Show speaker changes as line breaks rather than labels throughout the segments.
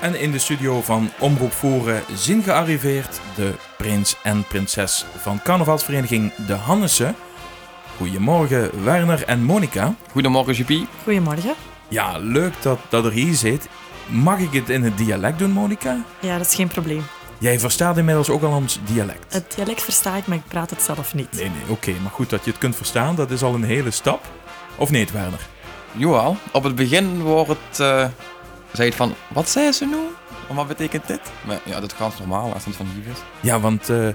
en in de studio van Omroep Voeren zijn gearriveerd de prins en prinses van carnavalsvereniging De Hannesse. Goedemorgen Werner en Monika.
Goedemorgen, Jupie.
Goedemorgen.
Ja, leuk dat, dat er hier zit. Mag ik het in het dialect doen, Monika?
Ja, dat is geen probleem.
Jij verstaat inmiddels ook al ons dialect.
Het dialect versta ik, maar ik praat het zelf niet.
Nee, nee, oké. maar goed dat je het kunt verstaan, dat is al een hele stap. Of niet, Werner?
Joal, op het begin wordt het... eh, zei het van, wat zei ze nu? En wat betekent dit? Maar ja, dat is ganz normaal als het van hier is.
Ja, want eh,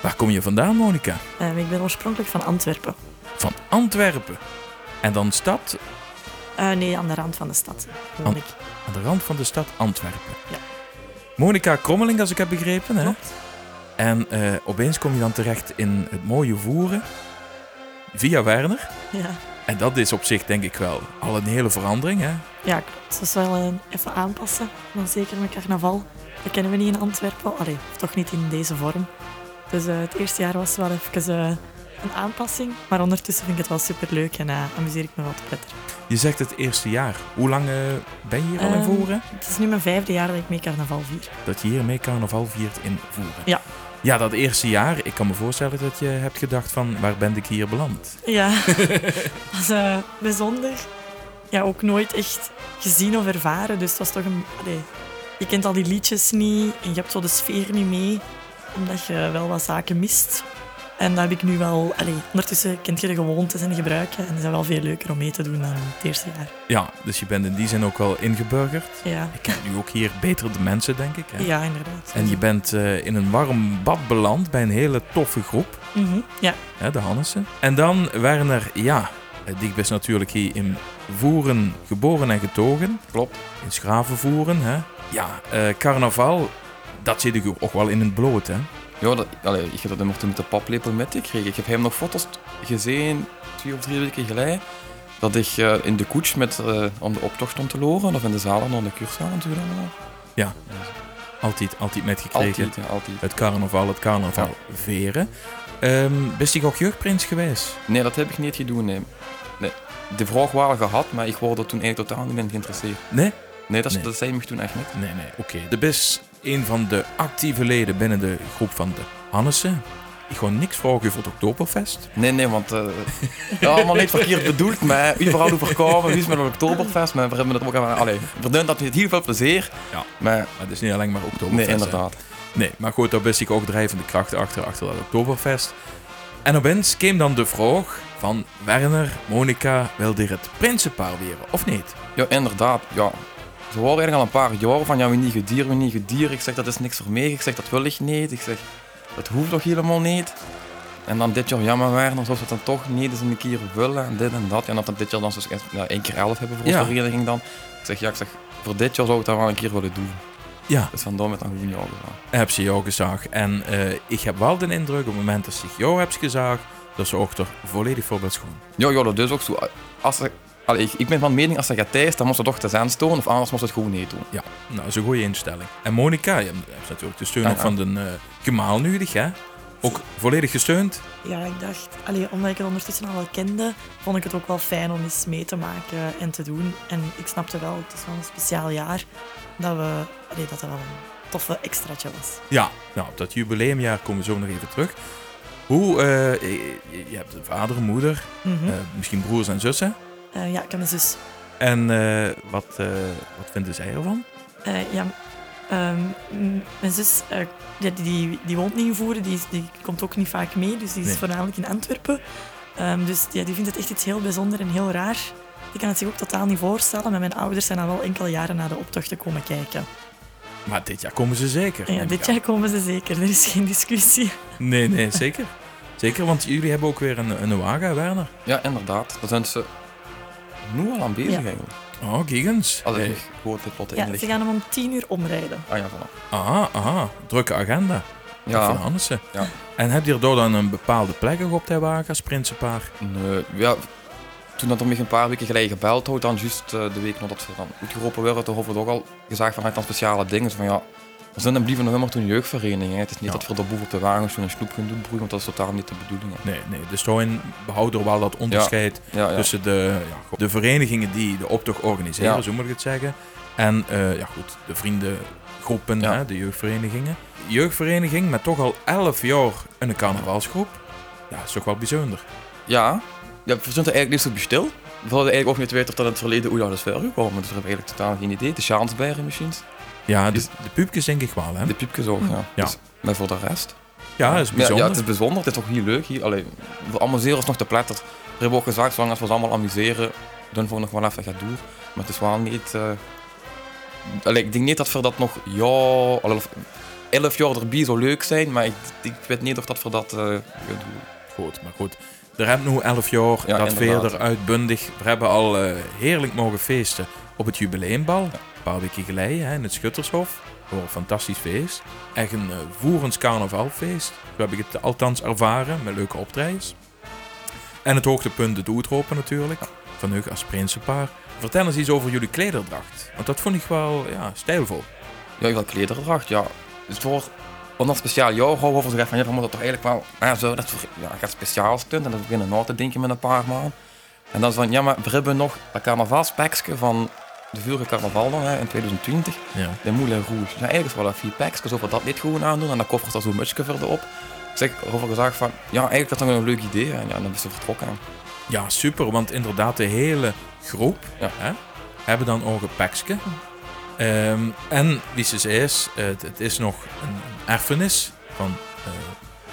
waar kom je vandaan, Monika?
Ehm, ik ben oorspronkelijk van Antwerpen.
Van Antwerpen. En dan stad
Eh, nee, aan de rand van de stad woon
Ant-
ik.
aan de rand van de stad Antwerpen.
Ja.
Monika Krommeling, als ik heb begrepen, hè? En eh, opeens kom je dan terecht in het mooie Voeren. Via Werner.
Ja.
En dat is op zich denk ik wel al een hele verandering, hè?
ja, klopt. Dat is wel een- even aanpassen. Maar zeker met carnaval. Dat kennen we niet in Antwerpen. Allee, toch niet in deze vorm. Dus eh, het eerste jaar was wel even eh, een aanpassing. Maar ondertussen vind ik het wel superleuk en eh, amuseer ik me wel te prettig.
Je zegt het eerste jaar. Hoe lang eh, ben je hier al in
Ehm,
Voeren?
Het is nu mijn vijfde jaar dat ik mee carnaval vier.
Dat je hiermee carnaval viert in Voeren.
Ja.
Ja, dat eerste jaar. Ik kan me voorstellen dat je hebt gedacht van... waar ben ik hier beland?
Ja, was eh, bijzonder. Ja, ook nooit echt gezien of ervaren. Dus het was toch een. allee, je kent al die liedjes niet en je hebt zo de sfeer niet mee, omdat je wel wat zaken mist. En dat heb ik nu wel. Allee, ondertussen kent je de gewoontes en de gebruiken. En die zijn wel veel leuker om mee te doen dan het eerste jaar.
Ja, dus je bent in die zin ook wel ingeburgerd.
Ja,
Ik ken nu ook hier beter de mensen, denk ik. Hè?
ja inderdaad.
En je bent eh, in een warm bad beland bij een hele toffe groep,
Mhm, Ja,
hè, de Hannessen. En dan Werner, ja, eh, die is natuurlijk hier in Voeren geboren en getogen.
Klopt.
In Schravenvoeren, hè. Ja, eh, carnaval, dat zit ik ook wel in het bloot, hè.
Ja, dat, allee, ik heb dat nummer toen met de paplepel metgekregen. Ik heb hem nog foto's gezien, twee of drie weken geleden. Dat ik eh, in de koets met, eh, om de optocht stond te loren. Of in de zaal en aan de kurszaal natuurlijk. allemaal.
Ja.
Dus
Altijd, altijd metgekregen.
altijd, ja, altijd.
Het carnaval, het carnaval veren. Ehm bist je ook jeugdprins geweest?
Nee, dat heb ik niet gedaan, nee. nee. De vraag waren gehad, maar ik word er toen eigenlijk totaal niet in geïnteresseerd.
Nee?
Nee, dat, is-
Nee.
dat zei me toen echt niet.
Nee, nee, oké. De best een van de actieve leden binnen de groep van de Hannessen. Ik gewoon niks vragen voor het Oktoberfest.
Nee, nee, want eh ja, allemaal niet verkeerd bedoeld, maar überhaupt overkomen, wie is met een Oktoberfest, maar we hebben het ook aan. Allee, we doen dat met heel veel plezier.
Ja.
Maar
Maar het is niet alleen maar Oktoberfest.
nee,
hè.
inderdaad.
Nee, maar goed, daar wist ik ook drijvende krachten achter, achter dat Oktoberfest. En opeens kwam dan de vraag van Werner, Monika, wil dit het prinsenpaar weren, of niet?
Ja, inderdaad. Ja. Ze horen eigenlijk al een paar jaar van ja, we niet gedier, we niet gedier. Ik zeg dat is niks voor mij. Ik zeg dat wil ik niet. Ik zeg dat hoeft toch helemaal niet. En dan dit jaar jammer waren, alsof ze het dan toch niet eens een keer willen en dit en dat. Ja, En dat dan dit jaar dan zo'n ja, één keer elf hebben voor
Ja.
onze vereniging dan. Ik zeg ja, ik zeg voor dit jaar zou ik dat wel een keer willen doen.
Ja,
Dus vandaar met een goede jaar. gedaan.
heb ze jou gezaagd. En eh, ik heb wel de indruk, op het moment dat ze jou hebt gezaagd, dat ze ook er volledig voor bent schoon.
Ja, ja, dat is ook zo. Als ze, allee, ik, ik ben van mening, als ze gaat thijs, dan moest ze toch te zijn stonen, of anders moest ze het gewoon niet doen.
Ja, nou, dat is een goede instelling. En Monika, je hebt je hebt natuurlijk de steun
Ja,
ook
ja.
van de eh, gemaal nu, hè? Ook volledig gesteund.
ja ik dacht, allee, omdat ik het ondertussen al wel kende, vond ik het ook wel fijn om eens mee te maken en te doen. En ik snapte wel, het is wel een speciaal jaar, dat we, allee, dat er wel een toffe extraatje was.
Ja, nou, op dat jubileumjaar komen we zo nog even terug. Hoe, eh, je, je hebt een vader, een moeder,
Mhm.
eh, misschien broers en zussen.
Eh, ja, ik heb een zus.
En eh, wat, eh, wat vinden zij ervan?
Eh, ja, ehm, m- mijn zus eh, ja, die, die, die woont niet in Voeren, die, is- die komt ook niet vaak mee, dus die is
Nee.
voornamelijk in Antwerpen. Ehm, dus ja, die vindt het echt iets heel bijzonder en heel raar. Die kan het zich ook totaal niet voorstellen, maar mijn ouders zijn al wel enkele jaren naar de optochten komen kijken.
Maar dit jaar komen ze zeker.
En ja,
neem
dit
ik
jaar komen ze zeker, er is geen discussie.
aan. Nee, nee, zeker. Zeker, want jullie hebben ook weer een, een wagen, Werner.
Ja, inderdaad. Daar zijn ze nu al aan bezig
Ja.
eigenlijk.
Oh, Gigens.
Als
Eh,
ik gewoon dit plot
Ja, ze
inlicht.
gaan hem om tien uur omrijden.
Ah ja, voilà.
aha, aha. Drukke agenda. Van
Ja,
Hannessen.
Ja.
En heb je er door dan een bepaalde plek ook op die wagen als prinsenpaar?
nee, ja, toen dat er mij een paar weken geleden gebeld had, dan juist eh, de week nadat ze dan uitgeroepen werden, toen hadden we toch al gezegd van hij had dan speciale dingen. Dus van ja, We zijn en blijven nog helemaal toen een jeugdvereniging. hè. Het is niet
Ja.
dat we de boef op de wagens doen en snoep gaan doen, broer, want dat is totaal niet de bedoeling. hè.
Nee, nee. Dus daarin behoudt er wel dat onderscheid
Ja, ja.
tussen de, ja, goed, de verenigingen die de optocht organiseren,
Ja.
zo moet ik het zeggen. En eh, ja, goed, de vriendengroepen,
Ja.
hè, de jeugdverenigingen. Jeugdvereniging met toch al 11 jaar een carnavalsgroep. Ja, is toch wel bijzonder.
ja. ja, we zijn er eigenlijk niet zo bestil. We hadden eigenlijk ook niet weten of dat in het verleden hoe dat is voorgekomen. Dus we hebben eigenlijk totaal geen idee. De Sjaansbergen misschien.
Ja, de,
Dus-
de pubjes denk ik wel, hè?
De piepjes ook, ja.
Ja.
Dus, maar voor de rest...
Ja, dat is bijzonder.
Ja, het is bijzonder. Het is toch heel leuk hier. Allee, we amuseren ons nog te pletter. We hebben ook gezegd, zolang als we ons allemaal amuseren, doen we nog wel even gaat doen. Maar het is wel niet... eh, Allee, ik denk niet dat we dat nog ja, allee, of elf jaar erbij zou leuk zijn, maar ik, ik weet niet of dat we dat eh, gaan doen.
Goed, maar goed. Er hebben nu 11 jaar
Ja,
dat
inderdaad.
verder uitbundig. We hebben al eh, heerlijk mogen feesten op het jubileumbal. Een paar weken geleden hè, in het Schuttershof. Gewoon een fantastisch feest. Echt een eh, voerends carnavalfeest. Zo heb ik het althans ervaren met leuke optredens. En het hoogtepunt de doeltropen natuurlijk. Van Hug als prinsenpaar. Vertel eens iets over jullie klederdracht. Want dat vond ik wel ja, stijlvol.
Ja, wel klederdracht, ja. Dus voor om dat speciaal jaar houden we over van ja, we moeten toch eigenlijk wel, ja, zo, dat voor, ja, gaat speciaal kunt en dat we beginnen na te denken met een paar maanden. En dan is van, ja, maar we hebben nog dat carnavalspekje van de vorige carnaval dan, hè, in 2020,
Ja.
de Moulin Rouge. Ja, eigenlijk is wel dat vier pakjes, of we dat niet gewoon aandoen en dan koffers daar zo'n mutsje verder op. Ik zeg, over gezegd van, ja, eigenlijk is dat nog een leuk idee hè. en ja, dan is ze vertrokken.
Ja, super, want inderdaad, de hele groep
Ja.
hè, hebben dan ook een pakje. Ehm, en wie ze is, het, het is nog een erfenis van eh,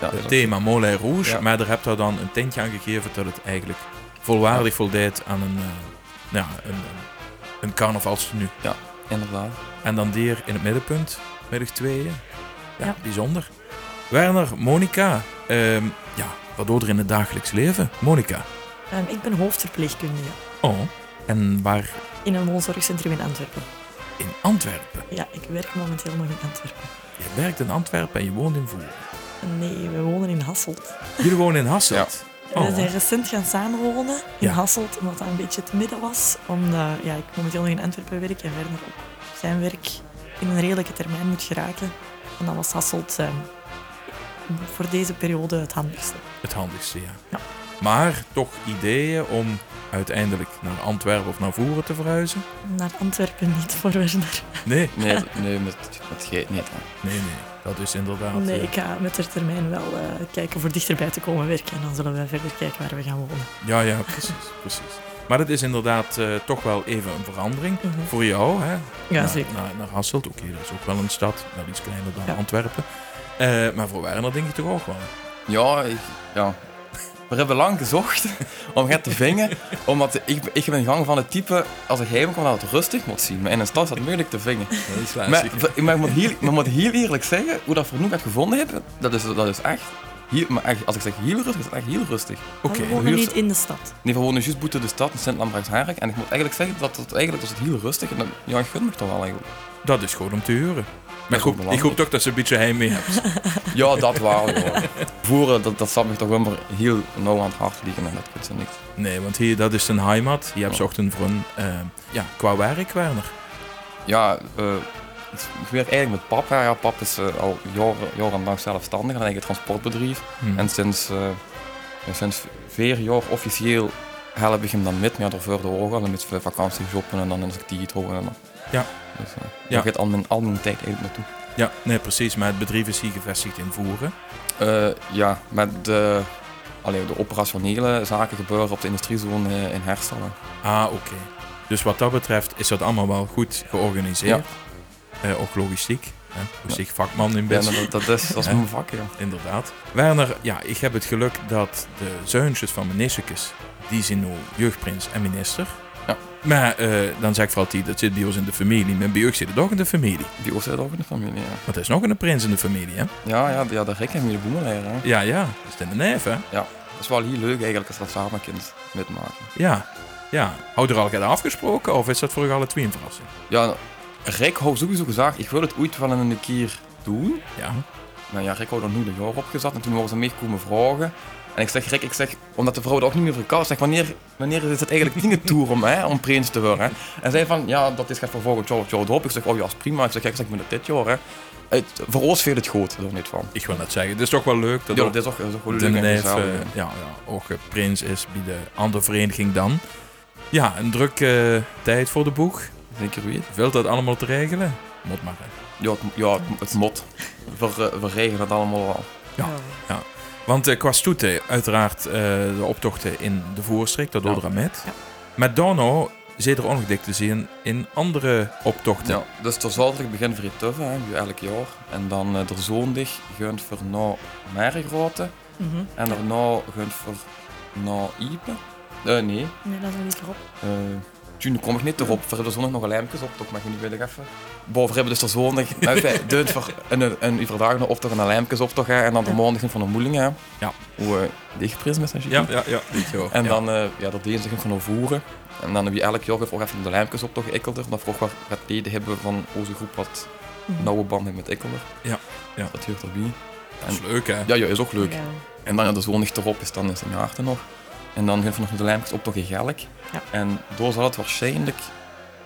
Ja,
het
dus-
thema Moulin Rouge,
Ja.
maar daar hebt u dan een tintje aan gegeven dat het eigenlijk volwaardig voldeed aan een, eh, ja, een, een carnavalstenu.
inderdaad.
En dan Dier in het middenpunt, middag tweeën. Ja,
Ja.
bijzonder. Werner, Monica, ehm, ja, wat doet er in het dagelijks leven? Monica,
Ehm, ik ben hoofdverpleegkundige
oh, en waar
in een woonzorgcentrum in Antwerpen.
in Antwerpen.
Ja, ik werk momenteel nog in Antwerpen.
Je werkt in Antwerpen en je woont in Voeren.
Nee, we wonen in Hasselt.
Jullie wonen in Hasselt. Oh.
We zijn recent gaan samenwonen in
Ja.
Hasselt, omdat dat een beetje te midden was. Omdat ja, ik momenteel nog in Antwerpen werk en verder op zijn werk in een redelijke termijn moet geraken. En dan was Hasselt ehm, voor deze periode het handigste.
Het handigste, ja.
Ja.
Maar toch ideeën om uiteindelijk naar Antwerpen of naar Voeren te verhuizen?
Naar Antwerpen niet voor Werner.
Nee,
Nee, nee met, met geit niet. hè.
nee, nee. Dat is inderdaad...
Nee,
eh,
ik ga met de termijn wel eh, kijken voor dichterbij te komen werken. En dan zullen we verder kijken waar we gaan wonen.
Ja, ja, precies. precies. Maar dat is inderdaad eh, toch wel even een verandering.
Mhm.
Voor jou, hè?
Ja,
naar,
zeker.
Naar, naar Hasselt. Oké, dat is ook wel een stad. Wel iets kleiner dan
Ja.
Antwerpen. Eh, maar voor Werner denk ik toch ook wel.
Ja, ik, ja. We hebben lang gezocht om het te vingen. Omdat ik, ik ben gang van het type, als ik heim kom, dat het rustig moet zien. Maar in een stad is dat moeilijk te vingen.
Dat is
Maar, maar ik moet heel, maar ik moet heel eerlijk zeggen, hoe dat voor nu gaat gevonden hebben, dat is, dat is echt, heel, maar echt... Als ik zeg heel rustig, is het echt heel rustig.
Oké,
we wonen
huur-
niet in de stad.
Nee, we wonen juist buiten de stad, in Sint-Lambrecht-Haarlem. En ik moet eigenlijk zeggen, dat het, eigenlijk was het heel rustig. En dat, ja, ik gun me toch wel eigenlijk.
dat is goed om te huren. Maar
is
goed,
ook
ik
belangrijk.
hoop toch dat ze een beetje heim mee hebben.
Ja, dat wel. joh. Voeren, dat, dat zat me toch wel heel nauw aan het hart liggen. En dat kunt ze niet.
Nee, want hier, dat is zijn heimat. Hier
Oh.
hebben ze ook een vriend. eh, ja, qua werk, Werner.
Ja, eh, het- ik werk eigenlijk met pap. hè. Ja, pap is eh, al jaren, jaren lang zelfstandig en eigen transportbedrijf.
Hm.
En sinds, eh, ja, sinds vier jaar officieel help ik hem dan met. Maar ja, daarvoor de ogen, met veel vakantiejoppen en dan is ik digitaal. En dan.
Ja.
Dus eh
Ja.
daar gaat al mijn, al mijn tijd eigenlijk naartoe.
Ja, nee, precies. Maar het bedrijf is hier gevestigd in Voeren.
Eh, ja, met de, allee, de operationele zaken gebeuren op de industriezone eh, in Herstellen.
Ah, oké. Dus wat dat betreft is dat allemaal wel goed georganiseerd. Eh, ook logistiek. Hè? Logistiek vakman in
Ja,
bed.
dat, dat is, dat is
Ja.
mijn vak, ja.
Inderdaad. Werner, ja, ik heb het geluk dat de zoontjes van Meniscus, die zijn nu jeugdprins en minister.
Ja.
Maar eh, dan zeg ik voor altijd, dat zit bij ons in de familie. Mijn bij zit het ook in de familie.
Die oost ook in de familie, ja.
Want er is nog een prins in de familie, hè?
Ja, ja, ja de Rick en de boemerleier, hè.
Ja, ja. Dat is in de neef, hè?
Dat is wel heel leuk eigenlijk als dat samen kunt metmaken.
Ja, ja. Houd er al gaat afgesproken of is dat voor u alle twee een verrassing?
Ja, Rick houdt sowieso gezegd, ik wil het ooit wel een keer doen.
Ja.
nou ja, Rick had nog nu de jaar opgezet. En toen waren ze meegekomen vragen. En ik zeg, Rick, ik zeg, omdat de vrouw dat ook niet meer verkouden, zeg, wanneer, wanneer is het eigenlijk niet de tour om, hè, om prins te worden? Hè? En zij van, ja, dat is gaat voor volgend jaar of het jaar erop. Ik zeg, oh ja, is prima. Ik zeg, ja, ik zeg, ik moet het dit jaar, hè. Het, voor ons veel het goed, er niet van.
Ik wil net zeggen, het is toch wel leuk dat
Ja,
ook
dat is ook, dat is ook wel
de
leuk en
neef
gezellig,
eh,
hè.
ja, ja, ook eh, prins is bij de andere vereniging dan. Ja, een drukke eh, tijd voor de boeg.
Zeker wie?
Wil dat allemaal te regelen? Moet maar. hè.
Ja, het, ja, het, het mot. We, eh, we regelen het allemaal wel.
Ja. Want eh, qua stoeten, uiteraard eh, de optochten in de voorstreek, dat
Ja.
Odra met.
Ja.
Met Dono zit er ongedikt te zien in andere optochten.
Ja, dus tot zaterdag begint voor Tuffe, hè, wie elk jaar. En dan eh, door zondag gaan we naar Mergrote.
Mhm.
En daarna gaan we naar Iepen. Eh, nee,
Nee, dat is nog niet erop.
eh toen kom ik niet erop. We hebben zondag nog een lijmpjes op, toch? Mag je niet willen even? Boven hebben dus de zondag nou, fijn, deunt voor een, een, een overdagende optocht en een lijmpjes optocht. hè, En dan de maandag van de moeling. hè.
Ja.
Hoe eh, de echtprins met zijn
ja, ja. ja, weet je wel.
en
Ja.
dan eh, ja, dat deden ze gewoon van voeren. En dan heb je elk jaar ook even de lijmpjes op toch Ikkelder. Dan vroeg wat wat leden hebben van onze groep wat
Mhm.
nauwe band heeft met Ikkelder.
Ja, ja.
Dat hoort erbij.
Dat is leuk, hè?
Ja, ja, is ook leuk.
Ja.
En dan ja, de zondag erop is dan is een jaar er nog. En dan gaan we nog de lijmpjes op toch in Gelk.
Ja.
En door zal het waarschijnlijk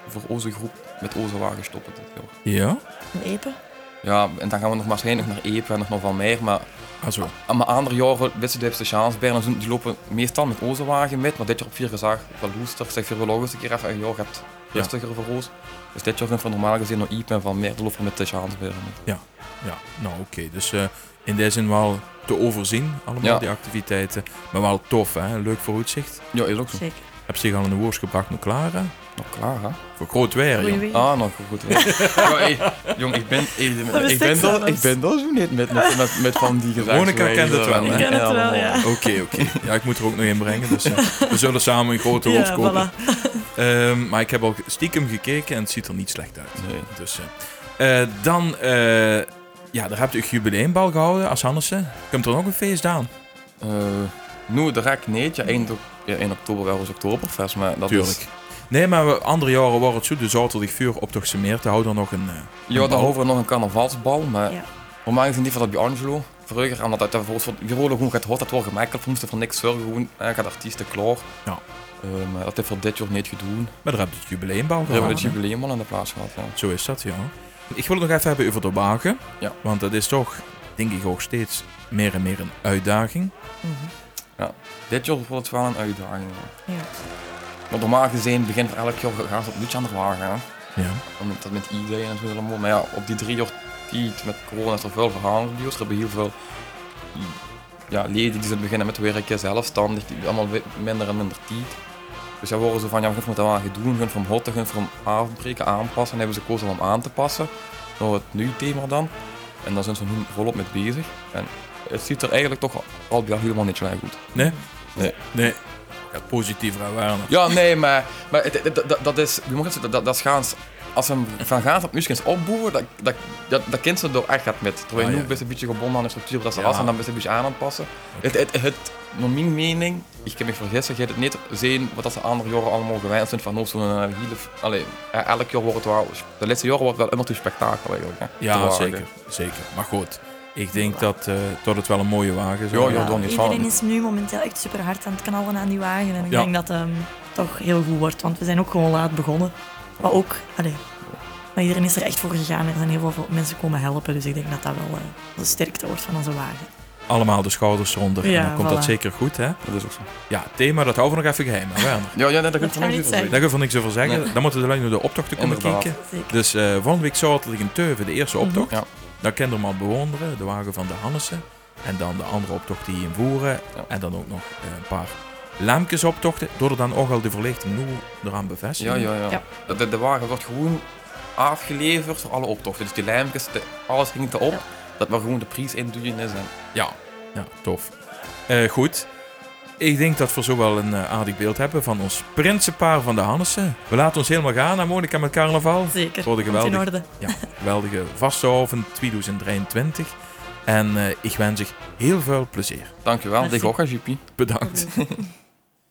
voor onze groep met onze wagen stoppen dit jaar.
Ja?
Een epen?
Ja, en dan gaan we nog waarschijnlijk naar Epe en nog naar Van Meer. Maar
Ah, zo.
aan mijn andere jaren wisten de chance bij. En zo- Die lopen meestal met onze wagen met, maar dit jaar op vier gezag wel loester. Ik Zeg voor wel eens een keer even, een jaar gaat rustiger voor ons. Dus dit jaar gaan we normaal gezien naar Iep en van meer lopen we met de chance bij.
Ja, nou oké. Dus eh, in die zin wel te overzien, allemaal
Ja.
die activiteiten. Maar wel tof, hè? Leuk vooruitzicht.
Ja, is ook zo.
Zeker.
Heb zich al een woord gebracht met Clara.
Nog klaar, hè?
Voor groot weer,
Goeie
joh.
weer.
Ah, nog goed. hè. ja, hey, jong, ik ben, ik,
Dat
ik,
wist ik
ben dat,
zelfs.
ik ben dat zo niet met, met, met, met van die gezag.
Monica kent het wel, hè?
Ik ken het wel, ja.
Oké, oké. Ja, ik moet er ook nog in brengen. Dus eh, we zullen samen een grote hoofd
Ja,
kopen.
voilà.
Ehm, maar ik heb al stiekem gekeken en het ziet er niet slecht uit.
Nee.
Dus, eh, eh, dan, eh, ja, daar heb je een jubileumbal gehouden als Hannessen. Komt er nog een feest aan?
Eh, nu, direct nee. Ja, eind, ok- ja, eind oktober wel eens oktoberfest, maar dat is...
Nee, maar we, andere jaren waren het zo. dus De zaterdag vuur op toch meer te houden nog een... eh,
Ja,
een bal.
daarover nog een carnavalsbal, maar
Ja.
normaal gezien niet van dat bij Angelo. Vroeger, omdat dat bijvoorbeeld voor Virolen gewoon gaat hot, dat wordt gemakkelijk, we moesten van niks zorgen, gewoon, eh, gaat artiesten klaar.
Ja.
Eh, maar dat heeft voor dit jaar niet gedaan. We
Maar daar heb je het jubileumbal gehouden.
hebben het jubileum al aan de plaats gehad. Ja.
Zo is dat, ja. Ik wil het nog even hebben over de wagen.
Ja.
Want dat is toch, denk ik, ook steeds meer en meer een uitdaging.
Mhm.
Dit jaar wordt het wel een uitdaging. ja.
Ja.
Want normaal gezien begint er elk jaar gaan ze opnieuw aan de wagen. Hè.
Ja.
Omdat dat met iedereen en zo helemaal. Maar ja, op die drie jaar tijd met corona is er veel verhalen gebeurd. Er hebben heel veel ja, leden die zijn beginnen met werken, zelfstandig, die allemaal we- minder en minder tijd. Dus ja, worden ze van, ja, we gaan het allemaal gaan doen, we gaan van hotten, we gaan van afbreken, aanpassen. En hebben ze gekozen om aan te passen, naar het nu thema dan. En daar zijn ze nu volop mee bezig. En het ziet er eigenlijk toch al bij al helemaal niet slecht uit.
Nee?
Nee.
Nee. Gaat positiever aan waren.
Ja, nee, maar, maar het- het- dat, dat, dat is, je moet het zeggen, dat, dat is gaans, als ze hem van gaans op muziek eens opbouwen, dat, dat, dat, dat kind ze er echt gaat met. Terwijl je
Ah,
nu
ja.
best een beetje gebonden aan de structuur dat ze
Ja.
was en dan best een beetje aan aan het passen. Het, het, het, naar mijn mening, ik kan me vergissen, je hebt het niet zien wat dat ze andere jaren allemaal gewend zijn van oh, zo'n eh, hele, allee, eh, elk jaar wordt het wel, de laatste jaren wordt het wel immer toe spektakel eigenlijk. Hè, eh, te
Ja,
wagen.
zeker. Zeker. Maar goed, ik denk dat, eh, dat het wel een mooie wagen is.
Ja, ja, dan niet
Iedereen
van.
is nu momenteel echt super hard aan het knallen aan die wagen. En ik
Ja.
denk dat ehm, het toch heel goed wordt, want we zijn ook gewoon laat begonnen. Maar ook, allee, maar iedereen is er echt voor gegaan. Er zijn heel veel mensen komen helpen, dus ik denk dat dat wel eh, de sterkte wordt van onze wagen.
Allemaal de schouders eronder.
Ja,
en dan komt dat
voilà.
zeker goed, hè?
Dat is ook zo.
Ja, het thema, dat houden we nog even geheim. Hè, Werner?
Ja, ja, nee, dat kan
Dat
ik
gaan we niet zeggen.
Daar kunnen we niks over zeggen.
Nee.
Dan moeten we alleen naar de optochten komen
Inderdaad.
kijken.
Zeker.
Dus eh volgende week zaterdag in Teuven, de eerste
Mhm.
optocht.
Ja.
Dan kan je hem al bewonderen, de wagen van de Hannessen. En dan de andere optocht die hier in voeren.
Ja.
En dan ook nog eh, een paar lampjesoptochten. Door er dan ook al de verlichting nu eraan bevestigen.
Ja, ja, ja.
Ja.
De- De, de wagen wordt gewoon afgeleverd voor alle optochten. Dus die lijmpjes, de- alles ging erop.
Ja.
Dat we gewoon de prijs induwen is. En,
Ja, ja tof. Eh, goed. Ik denk dat we zo wel een eh, aardig beeld hebben van ons prinsenpaar van de Hannessen. We laten ons helemaal gaan naar Monica met carnaval.
Zeker.
Wordt
Komt in
geweldig.
orde.
Geweldige Vastenhoven 2023. En eh, ik wens je heel veel plezier.
dankjewel,
Merci.
dig ook, hè, JP.
Bedankt.